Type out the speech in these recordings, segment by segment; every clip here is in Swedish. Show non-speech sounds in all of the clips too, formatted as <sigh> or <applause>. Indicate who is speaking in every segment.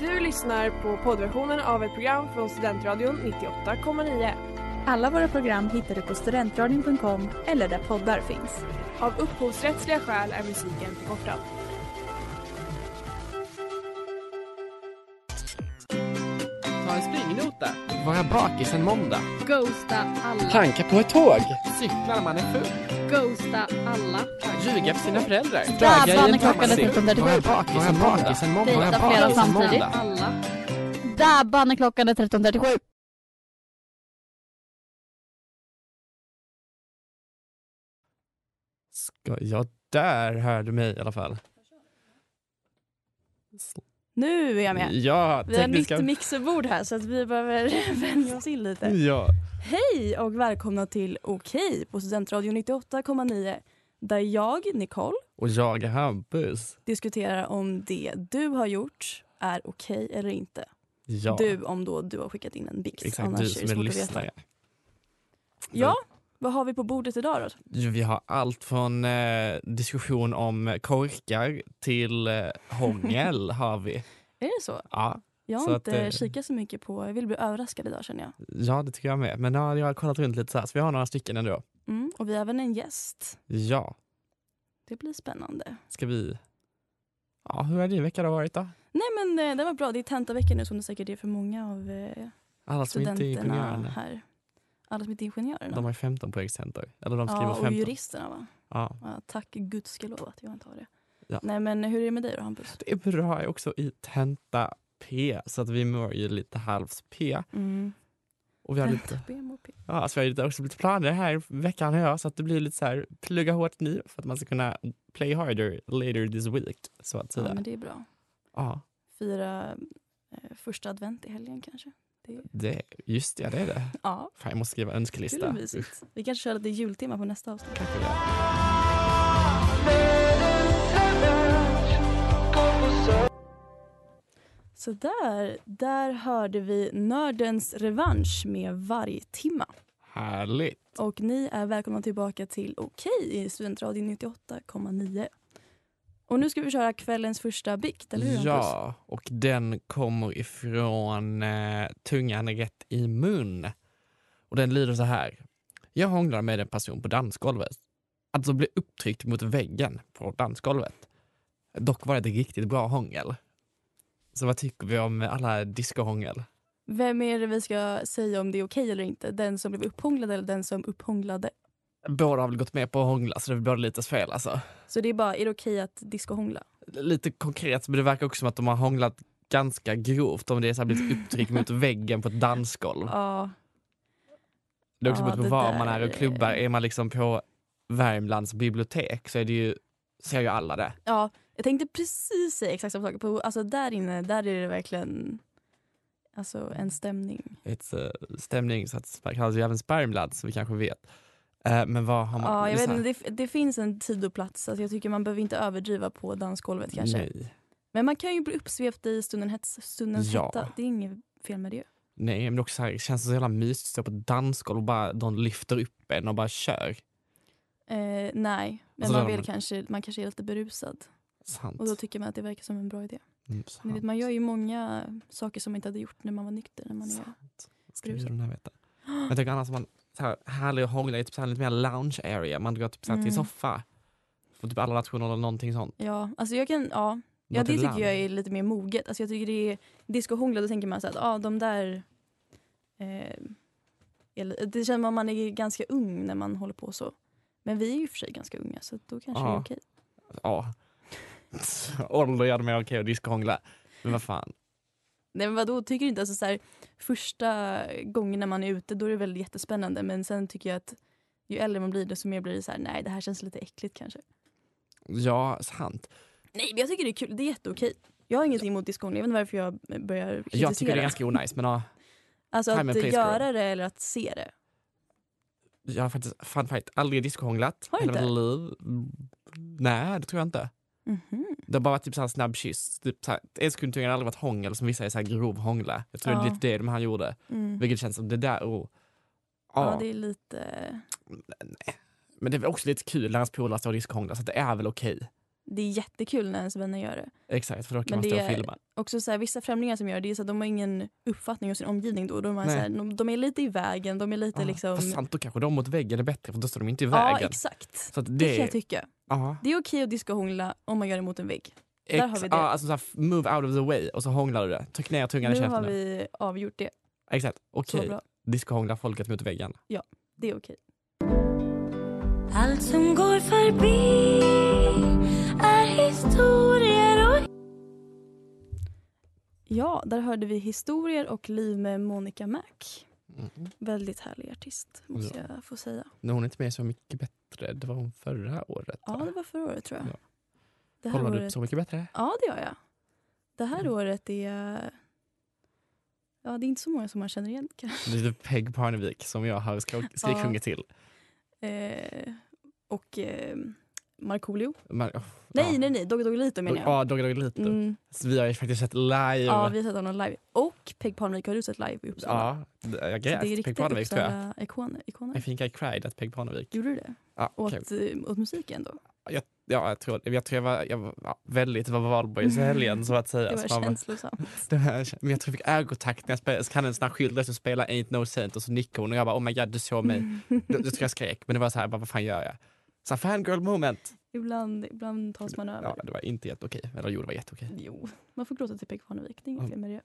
Speaker 1: Du lyssnar på poddversionen av ett program från Studentradion 98,9.
Speaker 2: Alla våra program hittar du på studentradion.com eller där poddar finns.
Speaker 1: Av upphovsrättsliga skäl är musiken förkortad.
Speaker 3: Ta en springnota.
Speaker 4: Vara bakis en måndag.
Speaker 5: Ghosta alla.
Speaker 4: Planka på ett tåg. Cykla när man är full.
Speaker 5: Ghosta alla.
Speaker 4: Ljuga för sina föräldrar.
Speaker 5: Städa banneklockan
Speaker 4: taxi.
Speaker 5: efter 17.37.
Speaker 4: Vara bakis en måndag. Vara
Speaker 5: Dejta flera
Speaker 4: bakis en
Speaker 5: samtidigt.
Speaker 4: måndag.
Speaker 5: Alla. Dabban är klockan är 13.37.
Speaker 4: Ska jag där hör du mig i alla fall.
Speaker 6: Nu är jag med.
Speaker 4: Ja,
Speaker 6: Vi har ett
Speaker 4: tekniska...
Speaker 6: nytt mixerbord här så att vi behöver vänja oss in lite.
Speaker 4: Ja.
Speaker 6: Hej och välkomna till Okej på Studentradion 98,9 där jag, Nicole,
Speaker 4: Och jag är Hampus.
Speaker 6: diskuterar om det du har gjort är okej eller inte.
Speaker 4: Ja.
Speaker 6: Du om då du har skickat in en biks.
Speaker 4: Exakt,
Speaker 6: annars
Speaker 4: du
Speaker 6: är
Speaker 4: som
Speaker 6: det svårt
Speaker 4: är
Speaker 6: att veta.
Speaker 4: lyssnare.
Speaker 6: Ja, vad har vi på bordet idag då?
Speaker 4: Jo, Vi har allt från eh, diskussion om korkar till eh, hångel har vi.
Speaker 6: Är det så?
Speaker 4: Ja.
Speaker 6: Jag har
Speaker 4: Så att,
Speaker 6: inte
Speaker 4: eh,
Speaker 6: kikat så mycket på, jag vill bli överraskad idag känner jag.
Speaker 4: ja, det tycker jag med. Men ja, jag har kollat runt lite så här, så vi har några stycken ändå.
Speaker 6: Mm, och vi har även en gäst.
Speaker 4: Ja,
Speaker 6: Det blir spännande.
Speaker 4: ska vi... Ja, hur har din vecka då varit då?
Speaker 6: Nej men eh, det var bra, det är tentavecka nu som det säkert är för många av eh,
Speaker 4: Alla som inte är
Speaker 6: studenterna
Speaker 4: ingenjörer.
Speaker 6: här. Alla som inte är ingenjörerna.
Speaker 4: De har 15 poängstentor. Eller de skriver
Speaker 6: ja, och
Speaker 4: 15.
Speaker 6: juristerna va?
Speaker 4: Ja.
Speaker 6: Ja, tack gudskelov att jag inte har det.
Speaker 4: Ja.
Speaker 6: Nej men hur är det med dig då Hampus?
Speaker 4: Det är bra jag är också i tenta P, så att vi mår ju lite halvs P.
Speaker 6: Mm.
Speaker 4: Och vi har
Speaker 6: <laughs>
Speaker 4: lite,
Speaker 6: BMOP.
Speaker 4: ja, alltså vi har lite, också lite planer här i veckan här, så att det blir lite så här plugga hårt nu för att man ska kunna play harder later this week. Så att
Speaker 6: Ja
Speaker 4: säga.
Speaker 6: men det är bra.
Speaker 4: Ja,
Speaker 6: Fira eh, första advent i helgen kanske.
Speaker 4: det, just det, det är det.
Speaker 6: Ja,
Speaker 4: Fan, jag måste skriva
Speaker 6: det blir
Speaker 4: önskelista.
Speaker 6: mysigt. Vi kanske kör lite jultema på nästa avsnitt.
Speaker 4: Kanske det.
Speaker 6: Så där, där hörde vi Nördens revansch med vargtimma.
Speaker 4: Härligt.
Speaker 6: Och ni är välkomna tillbaka till Okej i Studentradion 98,9. Och nu ska vi köra kvällens första bikt, eller hur Hampus?
Speaker 4: Ja, och den kommer ifrån eh, Tungan rätt i mun. Och den lyder så här. Jag hånglar med en person på dansgolvet. Alltså bli upptryckt mot väggen på dansgolvet. Dock var det ett riktigt bra hångel. Så vad tycker vi om alla discohångel?
Speaker 6: Vem är det vi ska säga om det är okej eller inte? Den som blev upphånglad eller den som upphånglade?
Speaker 4: Båda har väl gått med på att hångla så det är väl båda lite fel alltså.
Speaker 6: Så det är bara, är det okej att diskohångla?
Speaker 4: Lite konkret men det verkar också som att de har hånglat ganska grovt om det är så här blivit upptryckt mot väggen på ett dansgolv.
Speaker 6: Ja,
Speaker 4: Det är också
Speaker 6: Ja,
Speaker 4: beroende på
Speaker 6: det
Speaker 4: var
Speaker 6: där
Speaker 4: man är och
Speaker 6: är-
Speaker 4: klubbar. Är man liksom på Värmlands bibliotek så är det ju, ser ju alla det.
Speaker 6: ja, jag tänkte precis säga exakt samma sak. På, alltså där inne, där är det verkligen alltså, en stämning.
Speaker 4: Ett uh, stämning så att man kallas ju även Spermland som vi kanske vet. Eh, men vad har man...
Speaker 6: Ja, jag
Speaker 4: det är
Speaker 6: vet
Speaker 4: så här-
Speaker 6: inte, det, det finns en tid och plats. Alltså, jag tycker man behöver inte överdriva på dansgolvet kanske.
Speaker 4: Nej.
Speaker 6: Men man kan ju bli uppsvept i stunden hets, stundens
Speaker 4: Ja.
Speaker 6: hetta. Det är inget fel med det.
Speaker 4: Nej, men det är också så här, det känns så jävla mysigt att stå på ett dansgolv och bara de lyfter upp en och bara kör.
Speaker 6: Eh, nej, men
Speaker 4: Alltså, där
Speaker 6: man,
Speaker 4: har
Speaker 6: vill
Speaker 4: man-
Speaker 6: kanske, man kanske är lite berusad.
Speaker 4: Sant.
Speaker 6: Och då tycker man att det verkar som en bra idé.
Speaker 4: Mm,
Speaker 6: Ni vet,
Speaker 4: sant.
Speaker 6: man gör ju många saker som man inte hade gjort när man var nykter. När man är...
Speaker 4: Sant. Ska gudarna veta. Men jag tycker annars att man så här, härlig att hångla i typ så här, lite mer lounge area. Man går typ så här, till
Speaker 6: Mm.
Speaker 4: soffa. På typ alla nationer eller någonting sånt.
Speaker 6: Ja, alltså jag kan, ja. ja,
Speaker 4: Något typ
Speaker 6: det tycker
Speaker 4: land.
Speaker 6: jag är lite mer moget. Alltså jag tycker det är discohångla, då tänker man så här att ah, de där... Eh, eller- det känner man, man är ganska ung när man håller på så. Men vi är ju i och för sig ganska unga så då kanske det
Speaker 4: Ja.
Speaker 6: är okej. <laughs>
Speaker 4: Ja. Ålder gör det mig okej att diskhångla. Men vad fan.
Speaker 6: Nej men vadå, tycker du inte? Alltså, så här, första gången när man är ute då är det väl jättespännande men sen tycker jag att ju äldre man blir desto mer blir det så här, nej det här känns lite äckligt kanske.
Speaker 4: Ja, sant.
Speaker 6: Nej men jag tycker det är kul, det är jätteokej. Jag har ingenting emot diskon, jag vet inte varför jag börjar kritisera.
Speaker 4: Jag tycker det är ganska onajs men ja,
Speaker 6: alltså
Speaker 4: time and
Speaker 6: att
Speaker 4: place,
Speaker 6: göra
Speaker 4: girl.
Speaker 6: det eller att se det.
Speaker 4: jag har faktiskt fun fact, aldrig diskhånglat.
Speaker 6: Har du
Speaker 4: Hela
Speaker 6: inte?
Speaker 4: mitt liv. Mm, Nej, det tror jag inte.
Speaker 6: Mhm.
Speaker 4: Det har bara varit typ så här snabb kyss. Typ så här, en sekund har aldrig varit hångel som vissa är så här grov hångla. Jag tror det är
Speaker 6: Ja.
Speaker 4: lite det de här gjorde.
Speaker 6: Mm.
Speaker 4: Vilket känns som det där och, ja,
Speaker 6: Ja det är lite,
Speaker 4: Men det är väl också lite kul när hans polare står och diskhånglar så att det är väl okej.
Speaker 6: det är jättekul när ens vänner gör det.
Speaker 4: Exakt, för då kan
Speaker 6: Men
Speaker 4: man stå
Speaker 6: det
Speaker 4: och
Speaker 6: är-
Speaker 4: filma.
Speaker 6: Också så här, vissa främlingar som gör det, är så att de har ingen uppfattning om sin omgivning då. De är,
Speaker 4: Nej.
Speaker 6: så här, de, de är lite i vägen, de är lite
Speaker 4: Ah,
Speaker 6: liksom...
Speaker 4: Fast sant, då kanske de mot väggen är bättre för då står de inte i
Speaker 6: ja,
Speaker 4: vägen.
Speaker 6: exakt.
Speaker 4: så att det,
Speaker 6: Det kan jag tycka.
Speaker 4: ja,
Speaker 6: Det är okej att diskohångla om man gör det mot en vägg.
Speaker 4: ex,
Speaker 6: där har vi
Speaker 4: Ja,
Speaker 6: det.
Speaker 4: alltså så här, f- move out of the way och så hånglar du det. Tryck ner tungan i
Speaker 6: Nu har
Speaker 4: käften. Vi...
Speaker 6: vi avgjort det.
Speaker 4: Exakt,
Speaker 6: Så
Speaker 4: okej.
Speaker 6: bra.
Speaker 4: Diskohångla folket mot väggen.
Speaker 6: Det är okej.
Speaker 7: Allt som går förbi är historier och
Speaker 6: Ja, där hörde vi Historier och liv med Monica Mac.
Speaker 4: Mm.
Speaker 6: Väldigt härlig artist, måste jag få säga.
Speaker 4: Nu är hon inte med Så mycket bättre. Det var hon förra året.
Speaker 6: Ja,
Speaker 4: va?
Speaker 6: det var förra året tror jag.
Speaker 4: Ja.
Speaker 6: Det här
Speaker 4: Kollar du Mm.
Speaker 6: året...
Speaker 4: upp Så mycket bättre?
Speaker 6: Ja, det gör jag. Det här året är... Ja, det är inte så många som man känner igen kanske.
Speaker 4: Det är typ Peg Parnevik som jag har skrik- skriksjungit till.
Speaker 6: Eh, och eh, Markoolio.
Speaker 4: Men, oh,
Speaker 6: Nej,
Speaker 4: ja.
Speaker 6: nej, nej. Dogge Doggelito menar jag.
Speaker 4: Ja, Dogge Doggelito.
Speaker 6: Mm,
Speaker 4: Så Vi har ju faktiskt sett live.
Speaker 6: ja, vi har sett honom live. Och Peg Parnevik har du sett live i Uppsala.
Speaker 4: Ja, det- jag
Speaker 6: Så det är
Speaker 4: grät. Peg
Speaker 6: riktiga
Speaker 4: Parnevik tror jag.
Speaker 6: Uppsala-ikoner.
Speaker 4: I
Speaker 6: ikoner.
Speaker 4: think I cried at Peg Parnevik.
Speaker 6: Gjorde du det?
Speaker 4: Ja,
Speaker 6: Åt,
Speaker 4: okej.
Speaker 6: eh, åt musiken då?
Speaker 4: ja, jag tror, jag tror jag var, jag var ja, väldigt var valborg
Speaker 6: <laughs>
Speaker 4: i helgen så att säga. Så
Speaker 6: Det var
Speaker 4: alltså, man var-
Speaker 6: känslosamt.
Speaker 4: det var- Men jag tror jag fick ögonkontakt när jag spelade, så hade en sån här skylt där som spelar Ain't No Saint och så nickade hon och jag bara oh my god du såg mig.
Speaker 6: Mm.
Speaker 4: Då, då tror jag jag skrek men det var så här, bara, vad fan gör jag? Så här, fangirl moment.
Speaker 6: ibland, ibland tas man över.
Speaker 4: Ja, det var inte jätteokej. Eller jo, det var jätteokej.
Speaker 6: Jo, man får gråta till Peg Parnevik. Det är inget
Speaker 4: Ja.
Speaker 6: fel med det.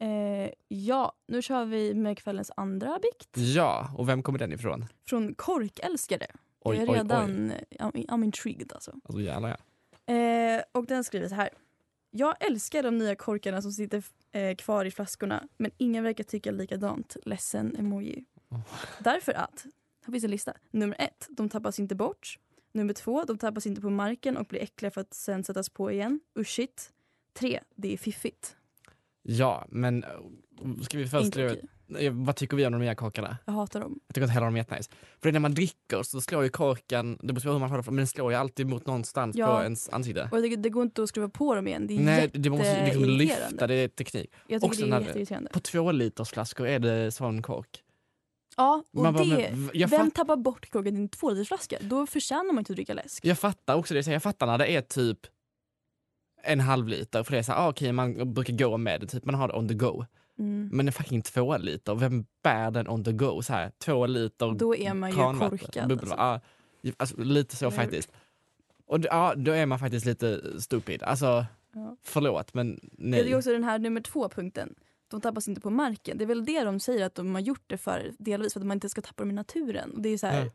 Speaker 6: Eh, ja, nu kör vi med kvällens andra bikt.
Speaker 4: Ja, och vem kommer den ifrån?
Speaker 6: Från Korkälskare.
Speaker 4: Oj,
Speaker 6: jag är
Speaker 4: oj, oj.
Speaker 6: redan eh, I'm, I'm intrigued alltså.
Speaker 4: Alltså jävlar ja.
Speaker 6: Eh, och den skriver så här. Jag älskar de nya korkarna som sitter eh, kvar i flaskorna men ingen verkar tycka likadant. Ledsen emoji.
Speaker 4: Oh.
Speaker 6: Därför att, här finns en lista. Nummer ett, de tappas inte bort. Nummer två, de tappas inte på marken och blir äckliga för att sen sättas på igen. Uschigt. Tre, det är fiffigt.
Speaker 4: Ja, men eh, ska vi först
Speaker 6: Inte
Speaker 4: slå
Speaker 6: okej.
Speaker 4: Eh, Vad tycker vi om de nya korkarna?
Speaker 6: Jag hatar dem.
Speaker 4: Jag tycker inte heller de är jättenice. För det är när man dricker så slår ju korken, det beror på hur man får det, men den slår ju alltid mot någonstans
Speaker 6: Ja.
Speaker 4: på ens ansikte.
Speaker 6: Och det, det går inte att skruva på dem igen. Det är
Speaker 4: Nej, du måste liksom
Speaker 6: jätteirriterande.
Speaker 4: lyfta, det är teknik.
Speaker 6: Jag
Speaker 4: också
Speaker 6: tycker det
Speaker 4: när-
Speaker 6: är jätteirriterande.
Speaker 4: På två liters flaskor är det sån kork.
Speaker 6: Ja, och
Speaker 4: Man bara,
Speaker 6: det,
Speaker 4: men v- jag,
Speaker 6: vem
Speaker 4: fatt,
Speaker 6: tappar bort korken i en tvålitersflaska? Då förtjänar man inte att dricka läsk.
Speaker 4: jag fattar också det, så jag fattar när det är typ en halv liter för det är så här, ah, okej man brukar gå med det, typ man har det on the go.
Speaker 6: Mm.
Speaker 4: Men en fucking två liter, vem bär den on the go? Så här, två liter
Speaker 6: Då är man ju
Speaker 4: kranvatten,
Speaker 6: korkad.
Speaker 4: bubbla-
Speaker 6: Alltså.
Speaker 4: ja, alltså, lite så
Speaker 6: Eller hur?
Speaker 4: faktiskt. Och d- ja, då är man faktiskt lite stupid. Alltså,
Speaker 6: Ja.
Speaker 4: förlåt men nej.
Speaker 6: Jag tycker också den här nummer två punkten. De tappas inte på marken. Det är väl det de säger att de har gjort det för delvis för att man inte ska tappa dem i naturen. Och det är så här,
Speaker 4: Nej.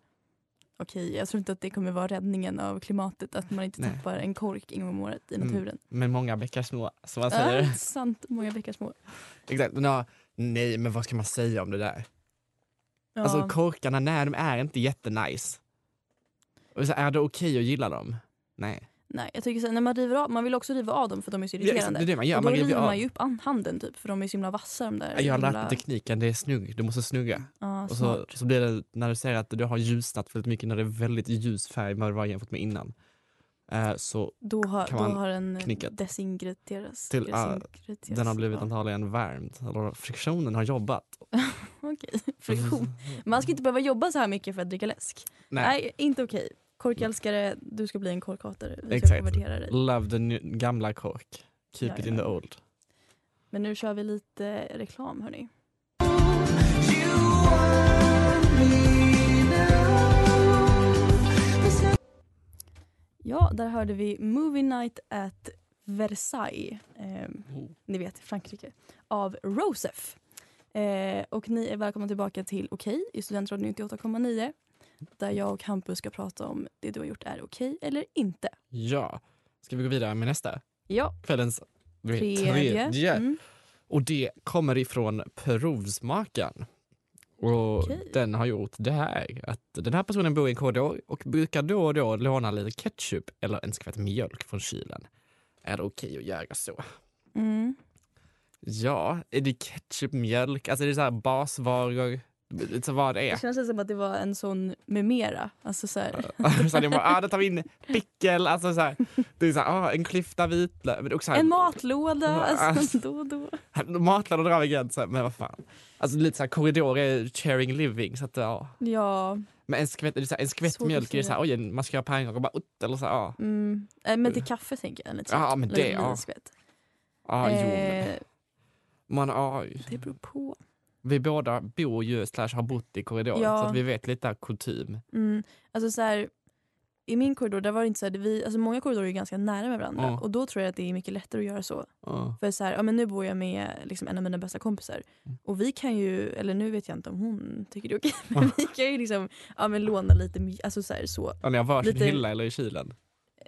Speaker 6: okej jag tror inte att det kommer vara räddningen av klimatet att man inte
Speaker 4: Nej.
Speaker 6: tappar en kork en gång om året i
Speaker 4: Mm. Alltså,
Speaker 6: naturen.
Speaker 4: Men många bäckar små, som man säger. <laughs>
Speaker 6: Ja, sant, många bäckar små.
Speaker 4: Exakt. Men, ja, nej, men vad ska man säga om det där?
Speaker 6: Ja.
Speaker 4: Alltså korkarna, nej de är inte jättenice. Och så är det okej att gilla dem? Nej.
Speaker 6: Nej, jag tycker så här, när man river av, man vill också riva av dem för de är så
Speaker 4: Det är, liksom-
Speaker 6: irriterande.
Speaker 4: det är det man gör,
Speaker 6: och då
Speaker 4: man river
Speaker 6: river man
Speaker 4: av.
Speaker 6: ju upp an- handen typ för de är så himla vassa de där.
Speaker 4: Jag har lärt
Speaker 6: himla-
Speaker 4: mig tekniken, det är snugg, du måste snugga.
Speaker 6: Ja,
Speaker 4: Och
Speaker 6: smart.
Speaker 4: så, så blir det när du säger att du har ljusnat väldigt mycket, när det är väldigt ljus färg med vad det var jämfört med innan. Eh, så
Speaker 6: Då har,
Speaker 4: kan
Speaker 6: då
Speaker 4: man
Speaker 6: har den
Speaker 4: knicka.
Speaker 6: desingriterats.
Speaker 4: Till, ja,
Speaker 6: desingriterats.
Speaker 4: den har blivit
Speaker 6: ja.
Speaker 4: antagligen värmd, eller friktionen har jobbat.
Speaker 6: Okej, <laughs>
Speaker 4: Mm. <laughs>
Speaker 6: friktion. Man ska inte behöva jobba så här mycket för att dricka läsk. Nej, inte okej. Korkälskare, du ska bli en korkhatare. Vi ska
Speaker 4: Exakt.
Speaker 6: konvertera dig.
Speaker 4: Love the ny- gamla kork, keep it in the
Speaker 6: Jajamän.
Speaker 4: old.
Speaker 6: Men nu kör vi lite reklam hörni. Ja, där hörde vi Movie Night at Versailles. Eh, ni vet, Frankrike. Av Rosef. Eh, och ni är välkomna tillbaka till Okej i Studentradion 98,9. Där jag och Hampus ska prata om det du har gjort är okej eller inte.
Speaker 4: Ja, ska vi gå vidare med nästa?
Speaker 6: Ja,
Speaker 4: Kvällens
Speaker 6: Mm.
Speaker 4: Och det kommer ifrån Provsmakaren. Och
Speaker 6: Okej.
Speaker 4: den har gjort det här, att den här personen bor i en korridor och brukar då och då låna lite ketchup eller en skvätt mjölk från kylen. Är det okej att göra så?
Speaker 6: Mm.
Speaker 4: Ja, är det ketchup, mjölk, alltså är det så här basvaror, lite vad det
Speaker 6: Det <laughs>
Speaker 4: är.
Speaker 6: känns lite som att det var en sån med mera. Alltså så här,
Speaker 4: så det är bara, ah, då tar vi in pickel, alltså så här, det är så här, ah, en klyfta vitlök. men också så här-
Speaker 6: en matlåda alltså,
Speaker 4: Alltså.
Speaker 6: då och då.
Speaker 4: Matlådor drar vi gränsen, men vad fan. Alltså lite så här korridor är sharing living, så att ja.
Speaker 6: Ja,
Speaker 4: Men en skvätt, det är så här, en skvätt
Speaker 6: Svårt att
Speaker 4: mjölk, är det så här,
Speaker 6: säga.
Speaker 4: oj, en- man ska göra pannkaka och bara ut, eller så här, ja.
Speaker 6: Mm. Eh, Men till kaffe tänker jag. Lite
Speaker 4: Ja,
Speaker 6: sånt.
Speaker 4: men
Speaker 6: Lite
Speaker 4: det, ja.
Speaker 6: vinskvätt.
Speaker 4: Ja, jo. men-
Speaker 6: Eh,
Speaker 4: Man, ja,
Speaker 6: det beror på.
Speaker 4: vi båda bor ju, slash har bott i korridoren,
Speaker 6: Ja.
Speaker 4: så att vi vet lite här kutym.
Speaker 6: Mm. Alltså så här, I min korridor där var det inte så här, vi, alltså många korridorer är ganska nära med varandra
Speaker 4: Ja.
Speaker 6: och då tror jag att det är mycket lättare att göra så.
Speaker 4: Ja.
Speaker 6: För så här, ja, men nu bor jag med liksom, en av mina bästa kompisar
Speaker 4: Mm.
Speaker 6: och vi kan ju, eller nu vet jag inte om hon tycker det är okej, <laughs> men vi kan ju liksom, ja, men låna lite mj- alltså, så här, så.
Speaker 4: Och ni har varsin
Speaker 6: Lite-
Speaker 4: hylla eller i kylen.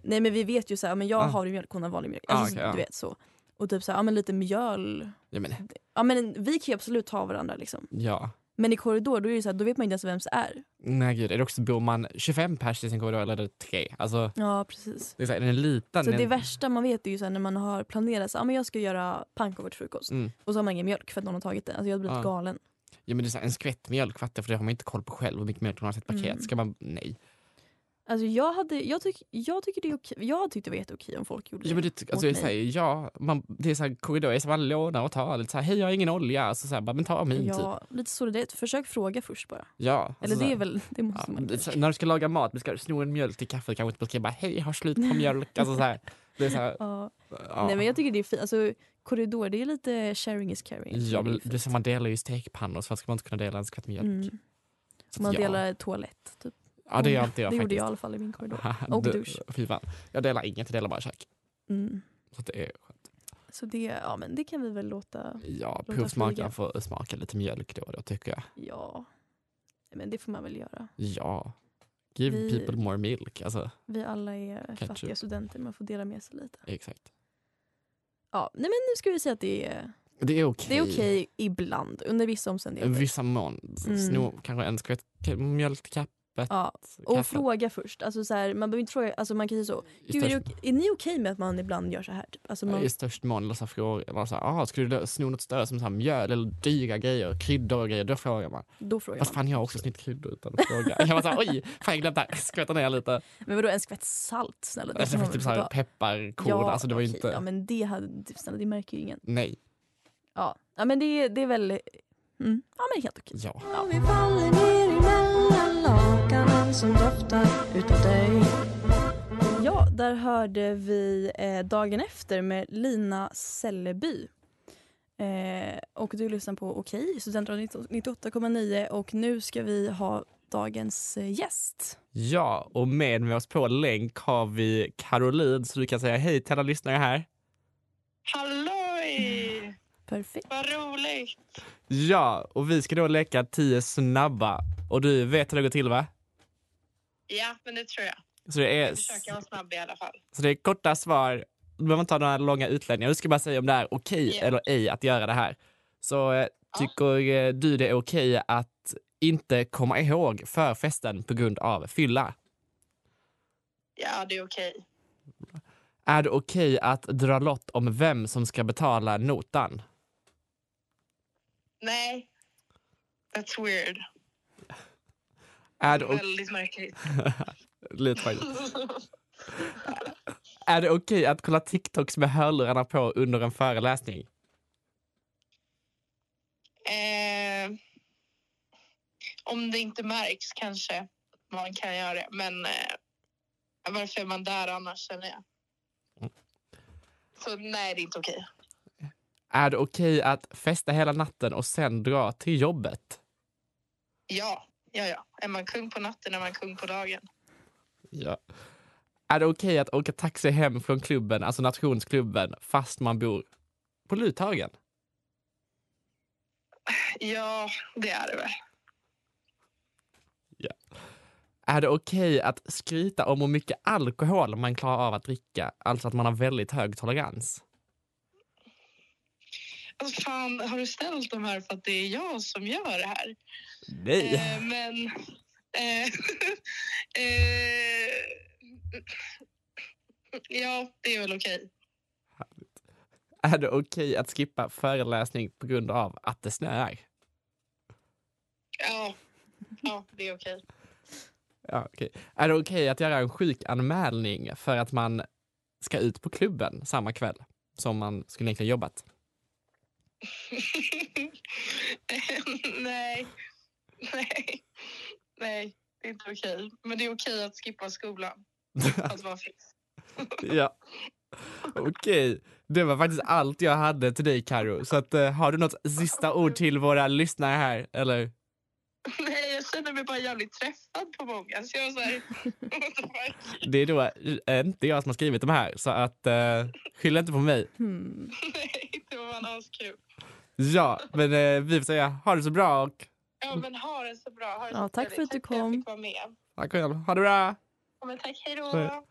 Speaker 6: Nej men vi vet ju så här, ja, men jag
Speaker 4: Ah.
Speaker 6: har mjölk, hon har vanlig mjölk.
Speaker 4: Ah,
Speaker 6: Alltså,
Speaker 4: okej, ja.
Speaker 6: Du vet så. Och typ så här, ja, men lite mjöl.
Speaker 4: Ja, men,
Speaker 6: Ja, men, vi kan ju absolut ta varandra liksom.
Speaker 4: ja.
Speaker 6: Men i korridor då, är det så här, då vet man inte ens vem det är.
Speaker 4: Nej gud, är det också, bor man 25 pers i sin korridor eller är det tre? Alltså,
Speaker 6: Ja precis.
Speaker 4: det är så här, den är liten.
Speaker 6: Så det
Speaker 4: den-
Speaker 6: värsta man vet är ju så här när man har planerat så, ah, men jag ska göra pannkakor till frukost
Speaker 4: Mm. Ah.
Speaker 6: och så har man ingen mjölk för att någon har tagit den. Alltså jag hade blivit
Speaker 4: Ja.
Speaker 6: galen.
Speaker 4: Ja, men det är så här, en skvätt mjölk, fattar för det har man inte koll på själv hur mycket mjölk man har i ett paket.
Speaker 6: Mm.
Speaker 4: Ska man, nej.
Speaker 6: Alltså jag, hade, jag, tyck, jag, tycker det är okej, jag tyckte det var jätteokej om folk gjorde
Speaker 4: Ja, men
Speaker 6: det.
Speaker 4: det, alltså, jag
Speaker 6: mig.
Speaker 4: säger, ja, man, det är så här, korridorer som man lånar och tar. Lite så här, hej jag har ingen olja, Alltså, så, så här, bara, men ta min typ.
Speaker 6: Ja, lite solidaritet. Försök fråga först bara.
Speaker 4: Ja, alltså,
Speaker 6: Eller
Speaker 4: så här.
Speaker 6: det är väl, det måste
Speaker 4: Ja,
Speaker 6: man
Speaker 4: det är så här, när du ska laga mat, du ska sno en mjölk till kaffet kanske inte bara ska bara hej, har slut
Speaker 6: <laughs>
Speaker 4: på mjölk. Alltså, så här, det är så här,
Speaker 6: ja.
Speaker 4: ja.
Speaker 6: Nej men jag tycker det är fint. Alltså korridor, det är lite sharing is caring.
Speaker 4: Ja,
Speaker 6: Det är
Speaker 4: men
Speaker 6: fint.
Speaker 4: det är så här, man delar ju stekpannor så varför ska man inte kunna dela en skvätt mjölk?
Speaker 6: Mm.
Speaker 4: Så att
Speaker 6: Man
Speaker 4: ja.
Speaker 6: delar toalett. Typ.
Speaker 4: Ja det gör inte jag
Speaker 6: det gjorde
Speaker 4: faktiskt.
Speaker 6: jag i alla fall i min korridor.
Speaker 4: Haha, <laughs>
Speaker 6: Och
Speaker 4: du-
Speaker 6: dusch.
Speaker 4: Fy fan. Jag delar inget, jag delar bara kök.
Speaker 6: Mm.
Speaker 4: Så att det är,
Speaker 6: Så det, ja, men det kan vi väl låta
Speaker 4: ja,
Speaker 6: Låta
Speaker 4: provsmakaren
Speaker 6: flyga.
Speaker 4: får smaka lite mjölk då och då tycker jag.
Speaker 6: Ja, men det får man väl göra.
Speaker 4: Ja. Give
Speaker 6: Vi-
Speaker 4: people more milk. Alltså,
Speaker 6: Vi alla är
Speaker 4: Ketchup.
Speaker 6: fattiga studenter, man får dela med sig lite.
Speaker 4: exakt.
Speaker 6: Ja, nej men nu ska vi säga att det är,
Speaker 4: Det är okej.
Speaker 6: det är okej ibland, under vissa omständigheter.
Speaker 4: Vissa mån.
Speaker 6: Mm.
Speaker 4: Sno kanske en skvätt k- mjölk till kaffet.
Speaker 6: Ja, och fråga först. Alltså, så här, man behöver inte fråga, alltså, man kan ju så.
Speaker 4: I
Speaker 6: Gud, är, det,
Speaker 4: störst,
Speaker 6: ok- är ni okej med att man ibland gör så här? Typ? Alltså, man,
Speaker 4: I störst mån eller så frågar man så här, ah, skulle du sno något större som så här mjöl eller dyra grejer, kryddor och grejer, då frågar man.
Speaker 6: då frågar
Speaker 4: Fast
Speaker 6: man.
Speaker 4: fan jag har också snytt kryddor utan att fråga. jag var såhär, oj, fan jag glömde det här. skvätta ner
Speaker 6: <laughs>
Speaker 4: lite.
Speaker 6: Men vadå, en skvätt salt? Snälla, det
Speaker 4: Alltså, det
Speaker 6: får man
Speaker 4: var typ
Speaker 6: väl
Speaker 4: såhär
Speaker 6: ta.
Speaker 4: pepparkorn, alltså det var ju
Speaker 6: okej.
Speaker 4: inte,
Speaker 6: Ja, men det, hade, typ, snälla, det märker ju ingen.
Speaker 4: nej.
Speaker 6: Ja, ja men det, det är väl... Mm. Ja, men helt okej.
Speaker 4: Ja.
Speaker 7: Och vi faller ner emellan lakanen som doftar utav dig
Speaker 6: Ja, där hörde vi eh, Dagen efter med Lina Selleby. Eh, och du lyssnar på Okej, Studentradion 98,9 och nu ska vi ha dagens eh, gäst.
Speaker 4: Ja, och med med oss på länk har vi Caroline så du kan säga hej till alla lyssnare här. Mm.
Speaker 8: Halloj!
Speaker 6: Perfekt.
Speaker 8: Vad roligt!
Speaker 4: Ja, och vi ska då leka 10 snabba. Och du vet hur det går till va?
Speaker 8: Ja, men det tror jag.
Speaker 4: Så det är,
Speaker 8: Jag försöker vara snabb i alla fall.
Speaker 4: så det är korta svar. Du behöver inte ha några långa utläggningar. Du ska bara säga om det är okej
Speaker 8: Ja.
Speaker 4: eller ej att göra det här. Så eh,
Speaker 8: Ja.
Speaker 4: tycker eh, du det är okej att inte komma ihåg förfesten på grund av fylla?
Speaker 8: Ja, det är okej.
Speaker 4: Är det okej att dra lott om vem som ska betala notan?
Speaker 8: Nej, that's weird.
Speaker 4: Är det, o-
Speaker 8: <laughs> Väldigt märkligt.
Speaker 4: lite faktiskt. Är det okej att kolla TikToks med hörlurarna på under en föreläsning?
Speaker 8: eh, om det inte märks kanske man kan göra det, men eh, varför är man där annars känner jag.
Speaker 4: Mm.
Speaker 8: Så nej, det är inte okej.
Speaker 4: Är det okej att festa hela natten och sen dra till jobbet?
Speaker 8: Ja, ja, ja. Är man kung på natten är man kung på dagen.
Speaker 4: Ja. Är det okej att åka taxi hem från klubben, alltså nationsklubben, fast man bor på Luthagen?
Speaker 8: Ja, det är det väl.
Speaker 4: Är det okej att skryta om hur mycket alkohol man klarar av att dricka, alltså att man har väldigt hög tolerans?
Speaker 8: Alltså, fan, har du ställt de här för att det är jag som gör det här?
Speaker 4: Nej.
Speaker 8: Eh, men... Eh, <laughs> eh, ja, det är väl okej.
Speaker 4: Är det okej att skippa föreläsning på grund av att det snöar?
Speaker 8: Ja. ja, det är okej. <laughs>
Speaker 4: Ja, okej. Är det okej att göra en sjukanmälning för att man ska ut på klubben samma kväll som man skulle egentligen jobbat?
Speaker 8: Eh, Nej. Nej. Nej, Det är inte okej. Men det är okej att skippa skolan. Att vara fix.
Speaker 4: ja. Okej, det var faktiskt allt jag hade till dig Karo. Så att, eh, har du något sista ord till våra lyssnare här? Eller?
Speaker 8: Nej, jag känner mig bara jävligt träffad på många. Så jag var såhär, <laughs> what the fuck?
Speaker 4: Det är då eh, inte jag som har skrivit de här, så att eh, skyll inte på mig. Mm.
Speaker 6: Hmm.
Speaker 8: Nej, det var fan askul.
Speaker 4: Ja, men eh, vi får säga ha det så bra och
Speaker 8: Ja, men ha det så bra. Ha det
Speaker 6: Ja,
Speaker 8: så
Speaker 6: tack
Speaker 8: trevligt.
Speaker 6: för att du
Speaker 8: Tack jag
Speaker 6: kom.
Speaker 8: fick vara med.
Speaker 4: tack själv. Ha det bra!
Speaker 8: Ja, men tack, hej
Speaker 4: Hej.
Speaker 8: då.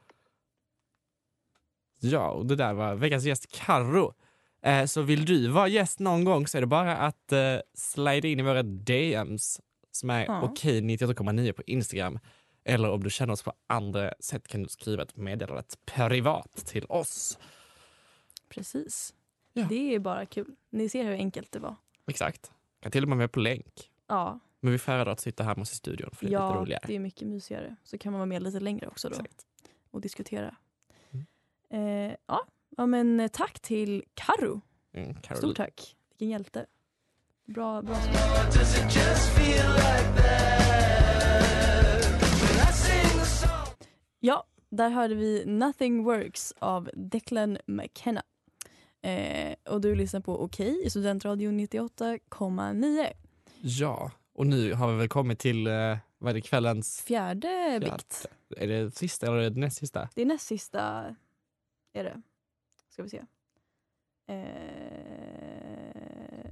Speaker 4: Ja, och det där var veckans gäst Karo. Eh, så vill du vara gäst någon gång så är det bara att eh, slida in i våra DMs som är
Speaker 6: Ja.
Speaker 4: okej 98,9 på Instagram. Eller om du känner oss på andra sätt kan du skriva ett meddelande privat till oss.
Speaker 6: Precis.
Speaker 4: Ja.
Speaker 6: Det är bara kul. Ni ser hur enkelt det var.
Speaker 4: Exakt. Kan till och med vara på länk.
Speaker 6: Ja,
Speaker 4: Men vi föredrar att sitta här med oss i studion för det är lite
Speaker 6: ja
Speaker 4: roligare.
Speaker 6: det är mycket mysigare. Så kan man vara med lite längre också då
Speaker 4: Exakt.
Speaker 6: och diskutera. Eh, ja. ja, men eh, tack till Karo.
Speaker 4: Mm, Karo,
Speaker 6: Stort tack. Vilken hjälte. Bra, bra svar. Ja, där hörde vi Nothing Works av Declan McKenna. Eh, och du lyssnar på Okej i Studentradion 98,9.
Speaker 4: Ja, och nu har vi väl kommit till eh, vad är det, kvällens...
Speaker 6: Fjärde
Speaker 4: Fjärde.
Speaker 6: bikt.
Speaker 4: Är det sista eller är det näst sista?
Speaker 6: Det är näst sista. Är det. Ska vi se. Eh,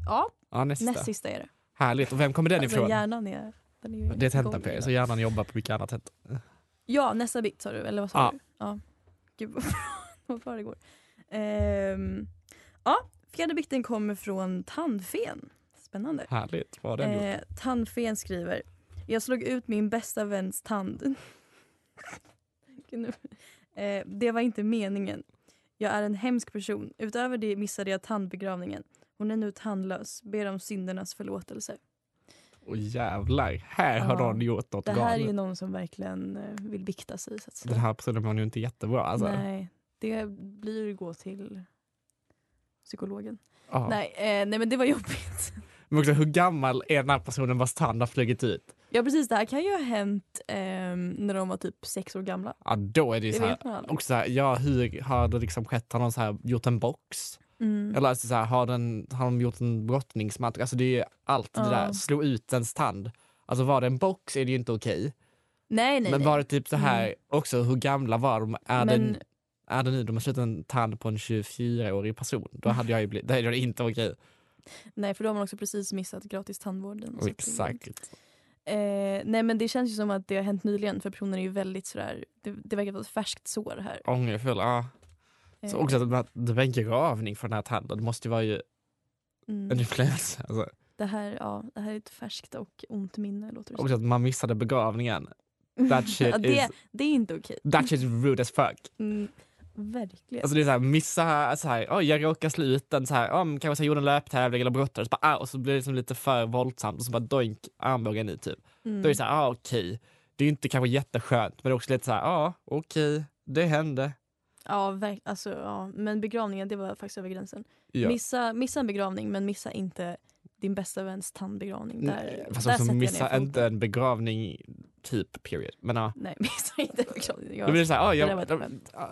Speaker 6: ja,
Speaker 4: Ja, näst sista.
Speaker 6: näst sista är det.
Speaker 4: Härligt. Och vem kommer den
Speaker 6: Alltså,
Speaker 4: ifrån?
Speaker 6: hjärnan är... Den är ju
Speaker 4: Det är tentan
Speaker 6: igång
Speaker 4: på er,
Speaker 6: idag.
Speaker 4: så hjärnan jobbar på mycket annat sätt.
Speaker 6: Ja, nästa bit sa du, eller vad sa
Speaker 4: Ja.
Speaker 6: du? Ja. Gud vad bra, <laughs> vad bra det går. Ehm, ja, fjärde biten kommer från Tandfen. Spännande.
Speaker 4: Härligt. Vad har den gjort?
Speaker 6: Eh, tandfen skriver, jag slog ut min bästa väns tand. <laughs> Gud, nu- eh, det var inte meningen. Jag är en hemsk person. Utöver det missade jag tandbegravningen. Hon är nu tandlös. Ber om syndernas förlåtelse.
Speaker 4: Och jävlar, här har
Speaker 6: ja.
Speaker 4: någon gjort något
Speaker 6: Det här är
Speaker 4: galet.
Speaker 6: ju någon som verkligen eh, vill bikta sig. Så att säga.
Speaker 4: Den här personen var ju inte jättebra. Alltså.
Speaker 6: Nej, det blir att gå till psykologen.
Speaker 4: Ja.
Speaker 6: Nej, eh, nej men det var jobbigt. <laughs>
Speaker 4: Men också hur gammal är den här personen vars tand har flugit ut?
Speaker 6: Ja precis, det här kan ju ha hänt ehm, när de var typ sex år gamla.
Speaker 4: Ja, då är det ju
Speaker 6: Det
Speaker 4: så här,
Speaker 6: vet man aldrig.
Speaker 4: också så här, ja, hur har det liksom skett? Har någon så här gjort en box?
Speaker 6: Mm.
Speaker 4: Eller alltså så här, har, den, har de gjort en brottningsmatch? Alltså det är ju allt det
Speaker 6: Ja.
Speaker 4: där, slå ut ens tand. Alltså var det en box är det ju inte okej.
Speaker 6: Nej, nej,
Speaker 4: Men
Speaker 6: nej.
Speaker 4: var det typ så här också, hur gamla var de? Är den
Speaker 6: men,
Speaker 4: är det nu de har slut en tand på en 24-årig person, då
Speaker 6: Mm.
Speaker 4: hade jag ju blivit, det är det inte okej.
Speaker 6: nej, för då har man också precis missat gratis tandvården. så att det-
Speaker 4: Exakt.
Speaker 6: Eh, nej men det känns ju som att det har hänt nyligen för personen är ju väldigt sådär, det, det verkar vara ett färskt sår här. Eh,
Speaker 4: Ångerfull, ja. Så också att man- det var en gravning för den här tanden, det måste ju vara ju en
Speaker 6: mm,
Speaker 4: influensa. Alltså.
Speaker 6: det, här, ja, det här är ett färskt och ont minne låter det som.
Speaker 4: Också att man missade begravningen. That shit,
Speaker 6: <laughs> Ja, det,
Speaker 4: is,
Speaker 6: det är inte okej.
Speaker 4: that shit is rude as fuck.
Speaker 6: Mm, verkligen.
Speaker 4: Alltså det är såhär, missa, så här, oj jag råkar slå ut den, så här, om, kanske så jag gjorde en löptävling eller brottades, bara, ah, och så blir det liksom lite för våldsamt och så bara doink armbågen i typ.
Speaker 6: Mm.
Speaker 4: Då är det så här, ah, okej. Det är ju inte kanske jätteskönt, men det är också lite så här, ah, okej, det hände.
Speaker 6: Ja, verk- alltså, ja, men begravningen det var faktiskt över gränsen.
Speaker 4: Ja.
Speaker 6: Missa, missa en begravning men missa inte din bästa väns tandbegravning. Där,
Speaker 4: Nej,
Speaker 6: där
Speaker 4: Mm, Fast också
Speaker 6: sätter jag ner
Speaker 4: missa
Speaker 6: foten.
Speaker 4: inte en begravning, typ, period. Men ja.
Speaker 6: Nej, <laughs> missa inte en begravning.
Speaker 4: Då blir
Speaker 6: Jag,
Speaker 4: det så här, ah,
Speaker 6: det där var
Speaker 4: jag,
Speaker 6: ett skämt.
Speaker 4: ah,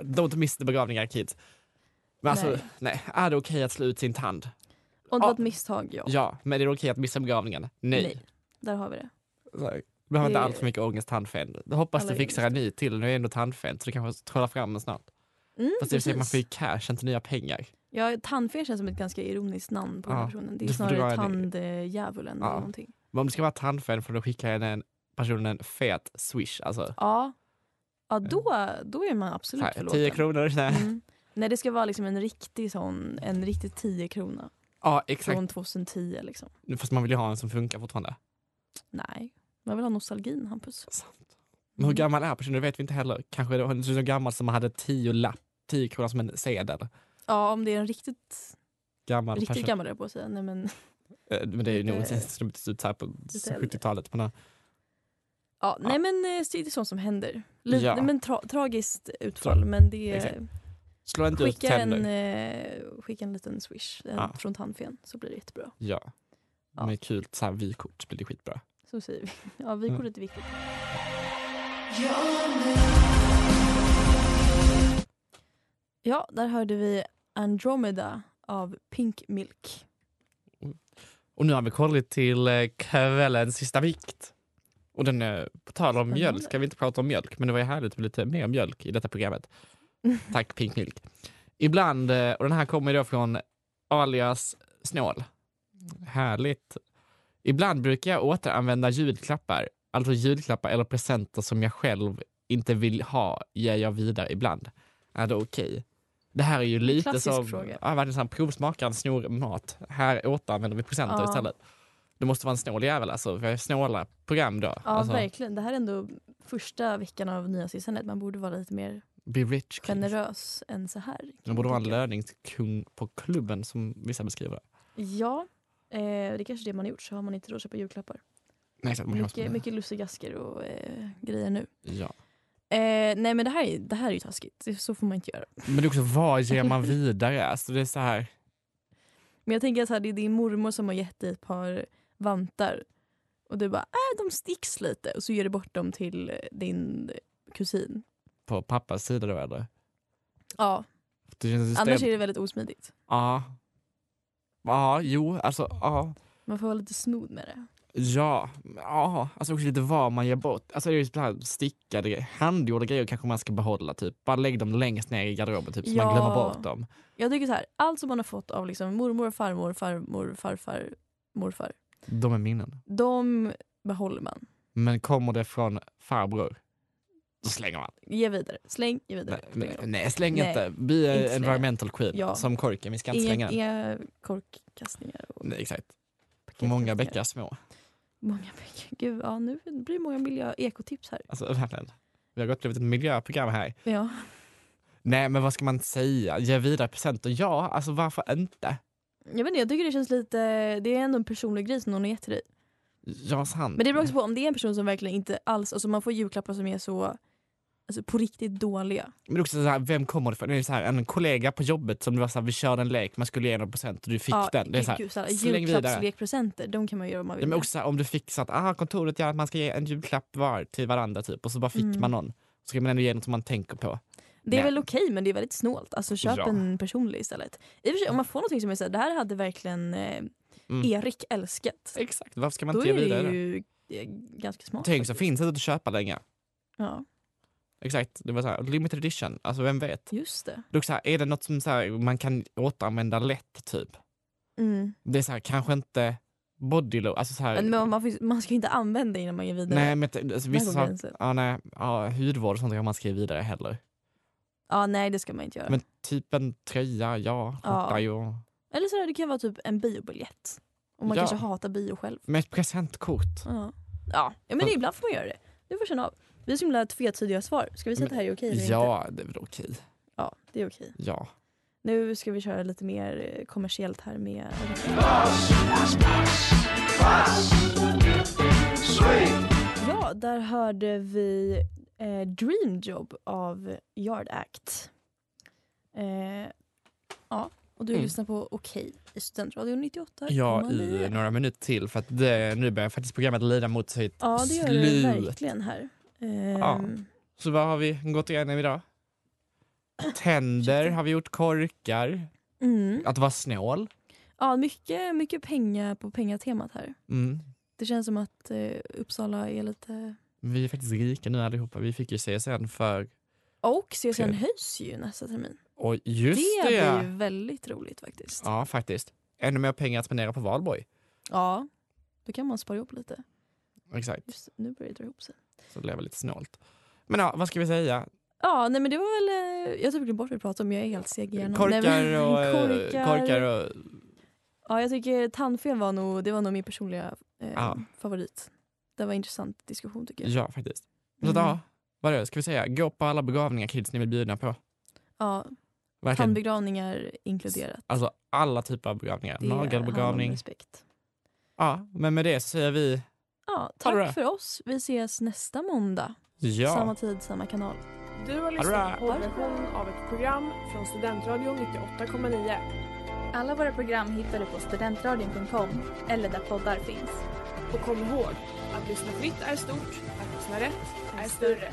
Speaker 6: eh,
Speaker 4: don't miss the begravningar kids. Men alltså, nej,
Speaker 6: Nej.
Speaker 4: är det okej att slå ut sin tand?
Speaker 6: om det var
Speaker 4: Ja.
Speaker 6: ett misstag, ja.
Speaker 4: Ja, men är det okej att missa begravningen? Nej.
Speaker 6: Nej. Där har vi det.
Speaker 4: Så här, Du behöver
Speaker 6: Det-
Speaker 4: inte allt för mycket ångest tandfen. Jag hoppas
Speaker 6: Alla
Speaker 4: du fixar en ny till, nu är det ändå tandfen så du kanske trollar fram den snart.
Speaker 6: Mm,
Speaker 4: Fast det vill säga, man
Speaker 6: precis.
Speaker 4: får ju cash, inte nya pengar.
Speaker 6: ja, tandfen känns som ett ganska ironiskt namn på den
Speaker 4: Ja,
Speaker 6: här personen. Det är
Speaker 4: du får dra
Speaker 6: snarare
Speaker 4: en-
Speaker 6: tanddjävulen
Speaker 4: Ja.
Speaker 6: eller någonting.
Speaker 4: Men om det ska vara tandfen får du skicka en- en personen en fet swish. Alltså,
Speaker 6: Ja, ja då, då är man
Speaker 4: så
Speaker 6: absolut
Speaker 4: Eh. här,
Speaker 6: förlåten.
Speaker 4: 10 kronor. Nej.
Speaker 6: Mm. Nej, det ska vara liksom en riktig sån, en riktig 10 krona
Speaker 4: Ja, exakt.
Speaker 6: från 2010 liksom.
Speaker 4: Fast man vill ju ha en som funkar fortfarande.
Speaker 6: Nej, man vill ha nostalgin Hampus.
Speaker 4: Sant. Men
Speaker 6: Mm.
Speaker 4: hur gammal är personen? Det vet vi inte heller. Kanske det var en så gammal som hade 10 lapp, 10 kronor som en sedel.
Speaker 6: Ja, om det är en riktigt,
Speaker 4: Gammal
Speaker 6: riktigt
Speaker 4: person.
Speaker 6: gammal höll jag på att säga. Nej, men,
Speaker 4: Eh, Men det är ju nog
Speaker 6: Lite-
Speaker 4: en som byttes ut så här på
Speaker 6: Lite äldre.
Speaker 4: 70-talet. Men, eh,
Speaker 6: ja, nej men eh, det är sånt som händer. Lite,
Speaker 4: Ja.
Speaker 6: nej, men tra, tragiskt utfall
Speaker 4: Tra-
Speaker 6: men det
Speaker 4: Exakt.
Speaker 6: är,
Speaker 4: slå inte ut
Speaker 6: skicka, en,
Speaker 4: tänder.
Speaker 6: eh, skicka en liten swish eh,
Speaker 4: Ja.
Speaker 6: från tandfen så blir det jättebra.
Speaker 4: Ja.
Speaker 6: Ja.
Speaker 4: Med kul så här, vykort blir det skitbra.
Speaker 6: Så säger vi. <laughs> Ja,
Speaker 4: Mm.
Speaker 6: vykort är inte viktigt. Ja, där hörde vi Andromeda av Pink Milk.
Speaker 4: Och nu har vi kommit till eh, kvällens sista vikt. Och den är, på tal om mjölk, ska vi inte prata om mjölk, men det var ju härligt med lite mer mjölk i detta programmet. Tack Pink Milk. Ibland, eh, och den här kommer ju då från alias Snål. Härligt. Ibland brukar jag återanvända julklappar, alltså julklappar eller presenter som jag själv inte vill ha, ger jag vidare ibland. Är det okej? Det här är ju lite
Speaker 6: Klassisk
Speaker 4: som,
Speaker 6: fråga.
Speaker 4: ja, verkligen så här, provsmakaren snor mat. Här återanvänder vi presenter
Speaker 6: Ja.
Speaker 4: istället. Det måste vara en snål jävel alltså, för jag är snåla program då.
Speaker 6: Ja,
Speaker 4: alltså,
Speaker 6: verkligen. Det här är ändå första veckan av nya systemet. Man borde vara lite mer
Speaker 4: be rich kids.
Speaker 6: generös än så här. kan
Speaker 4: Det
Speaker 6: jag
Speaker 4: borde vara en
Speaker 6: tycka.
Speaker 4: löningskung på klubben som vissa beskriver det.
Speaker 6: Ja, eh, det är kanske det man har gjort så har man inte råd att köpa julklappar.
Speaker 4: Nej, exakt, man kan
Speaker 6: Mycket,
Speaker 4: vara-
Speaker 6: mycket lussegasker och eh, grejer nu.
Speaker 4: Ja.
Speaker 6: Eh, nej men det här, är- det här är ju taskigt, Det- så får man inte göra.
Speaker 4: Men det är också, vad ger man vidare? Alltså det är så här,
Speaker 6: Men jag tänker att så här, det är din mormor som har gett dig ett par vantar och du bara äh, de sticks lite och så ger du bort dem till eh, din kusin.
Speaker 4: på pappas sida då eller?
Speaker 6: Ja,
Speaker 4: Det känns system...
Speaker 6: annars är det väldigt osmidigt.
Speaker 4: Ja. Ja, jo, alltså ja.
Speaker 6: Man får vara lite snodd med det.
Speaker 4: Ja, ja, alltså också lite vad man ger bort. Alltså det är ju så här stickade grejer, handgjorda grejer kanske man ska behålla typ. Bara lägg dem längst ner i garderoben typ så man
Speaker 6: Ja.
Speaker 4: glömmer bort dem.
Speaker 6: Jag tycker så här, allt som man har fått av liksom mormor, farmor, farmor, farfar, morfar,
Speaker 4: De är minnen.
Speaker 6: de behåller man.
Speaker 4: Men kommer det från farbror, då slänger man.
Speaker 6: Ge vidare. Släng, ge vidare.
Speaker 4: Nej,
Speaker 6: Spelar ingen roll.
Speaker 4: men- nej släng
Speaker 6: Nej,
Speaker 4: inte. Vi är
Speaker 6: inte slänga.
Speaker 4: environmental queen
Speaker 6: Ja.
Speaker 4: som korken, vi ska inte slänga
Speaker 6: Inga,
Speaker 4: den.
Speaker 6: inga korkkastningar och
Speaker 4: Nej, exakt.
Speaker 6: paketkastningar.
Speaker 4: Många bäckar små.
Speaker 6: Många bäckar. Gud, ja, nu blir det många miljö ekotips här.
Speaker 4: Alltså verkligen. Vi har gått blivit ett miljöprogram här.
Speaker 6: Ja.
Speaker 4: Nej men vad ska man säga? Ge vidare presenter? Ja, alltså varför inte?
Speaker 6: Jag vet inte, jag tycker det känns lite... Det är ändå en personlig grej som någon har gett till dig.
Speaker 4: Ja, sant.
Speaker 6: Men det beror också på om det är en person som verkligen inte alls... Alltså man får julklappar som är så... Alltså på riktigt dåliga.
Speaker 4: Men det är också så här, vem kommer det från? Det är så här, en kollega på jobbet som det var så här, vi körde en lek, man skulle ge en procent och du fick den. Det är så här,
Speaker 6: gud, snälla,
Speaker 4: släng vidare.
Speaker 6: Julklappslekpresenter, de kan man göra om man
Speaker 4: Ja,
Speaker 6: vill.
Speaker 4: men också så här, om du fick så att ah, kontoret gör att man ska ge en julklapp var till varandra typ och så bara fick
Speaker 6: Mm.
Speaker 4: man någon. Så kan man ändå ge något som man tänker på.
Speaker 6: det
Speaker 4: Nej.
Speaker 6: är väl okej men det är väldigt snålt. Alltså köp
Speaker 4: Ja.
Speaker 6: en personlig istället. I och för sig om man får någonting som är såhär, det här hade verkligen eh,
Speaker 4: Mm.
Speaker 6: Erik älskat.
Speaker 4: Exakt, varför ska man
Speaker 6: Då
Speaker 4: inte ge
Speaker 6: är
Speaker 4: vidare?
Speaker 6: det
Speaker 4: det?
Speaker 6: ju eh, ganska smart.
Speaker 4: Tänk så
Speaker 6: faktiskt.
Speaker 4: finns det inte att köpa längre.
Speaker 6: Ja,
Speaker 4: Exakt, det var så här, limited edition, alltså vem vet?
Speaker 6: just det.
Speaker 4: Det är, också så här, är det något som så här, man kan återanvända lätt typ?
Speaker 6: Mm.
Speaker 4: Det är så här, kanske inte body lotion, alltså så här,
Speaker 6: Men man, får- man ska ju inte använda det innan man ger vidare.
Speaker 4: nej men t- alltså, vissa
Speaker 6: går
Speaker 4: saker,
Speaker 6: gränsen.
Speaker 4: ja, nej, ja, hudvård och sånt kan man skriva vidare heller.
Speaker 6: Ja, nej det ska man inte göra.
Speaker 4: Men typ en tröja, ja.
Speaker 6: Ja.
Speaker 4: skjorta, ja.
Speaker 6: Eller sådär, det kan vara typ en biobiljett. Om man
Speaker 4: Ja.
Speaker 6: kanske hatar bio själv.
Speaker 4: Med ett presentkort.
Speaker 6: Ja, ja. ja men ibland får man göra det. Du får känna av. Vi är så himla tvetydiga svar. Ska vi säga att det här är okej eller inte?
Speaker 4: Ja, det är väl okej.
Speaker 6: Ja, det är okej.
Speaker 4: Ja.
Speaker 6: Nu ska vi köra lite mer eh, kommersiellt här med... Ja, där hörde vi eh, Dream Job av Yard Act. Eh, ja, och du
Speaker 4: Mm.
Speaker 6: lyssnar på Okej i Studentradion 98.
Speaker 4: ja, i några minuter till för att det, nu börjar faktiskt programmet lida mot sitt
Speaker 6: Ja, det gör det
Speaker 4: slut.
Speaker 6: verkligen här.
Speaker 4: Ja.
Speaker 6: Ehm,
Speaker 4: Så vad har vi gått igenom idag? Tänder har vi gjort, korkar,
Speaker 6: mm.
Speaker 4: att vara snål.
Speaker 6: ja, mycket, mycket pengar på pengatemat här.
Speaker 4: Mm.
Speaker 6: Det känns som att eh, Uppsala är lite...
Speaker 4: Vi är faktiskt rika nu allihopa. Vi fick ju CSN för...
Speaker 6: Och CSN
Speaker 4: Okej.
Speaker 6: höjs ju nästa termin.
Speaker 4: Och just
Speaker 6: det
Speaker 4: det!
Speaker 6: blir
Speaker 4: ja.
Speaker 6: ju väldigt roligt faktiskt. Ja.
Speaker 4: Ja, faktiskt. Ännu mer pengar att spendera på valborg.
Speaker 6: då kan man spara ihop lite.
Speaker 4: Exakt.
Speaker 6: Just, nu börjar det dra ihop sig.
Speaker 4: Så det blev lite snålt. Men ja, vad ska vi säga?
Speaker 6: Ja, nej men det var väl... eh, Jag typ glömde bort vad vi pratade om, jag är helt seg igen. Nej, men-
Speaker 4: Korkar
Speaker 6: <laughs>
Speaker 4: och, korkar.
Speaker 6: korkar.
Speaker 4: korkar och...
Speaker 6: Ja, jag tycker tandfen var nog, det var nog min personliga eh,
Speaker 4: Ja.
Speaker 6: favorit. Det var en intressant diskussion tycker jag.
Speaker 4: Ja, faktiskt. Så att,
Speaker 6: Mm.
Speaker 4: ja, vad är det? Ska vi säga? Gå på alla begravningar kids ni blir bjudna på.
Speaker 6: Ja,
Speaker 4: Verkligen.
Speaker 6: tandbegravningar inkluderat.
Speaker 4: Alltså alla typer av begravningar.
Speaker 6: Det handlar om
Speaker 4: Nagelbegravning.
Speaker 6: respekt.
Speaker 4: Ja, men med det så säger vi
Speaker 6: Ja,
Speaker 4: Ha det bra.
Speaker 6: tack för oss. Vi ses nästa måndag.
Speaker 4: ja.
Speaker 6: Samma tid, samma kanal.
Speaker 1: Du har lyssnat på poddversion av ett program från Studentradion 98,9.
Speaker 2: Alla våra program hittar du på studentradion.com eller där poddar finns.
Speaker 1: Och kom ihåg, att lyssna fritt är stort, att lyssna rätt är större.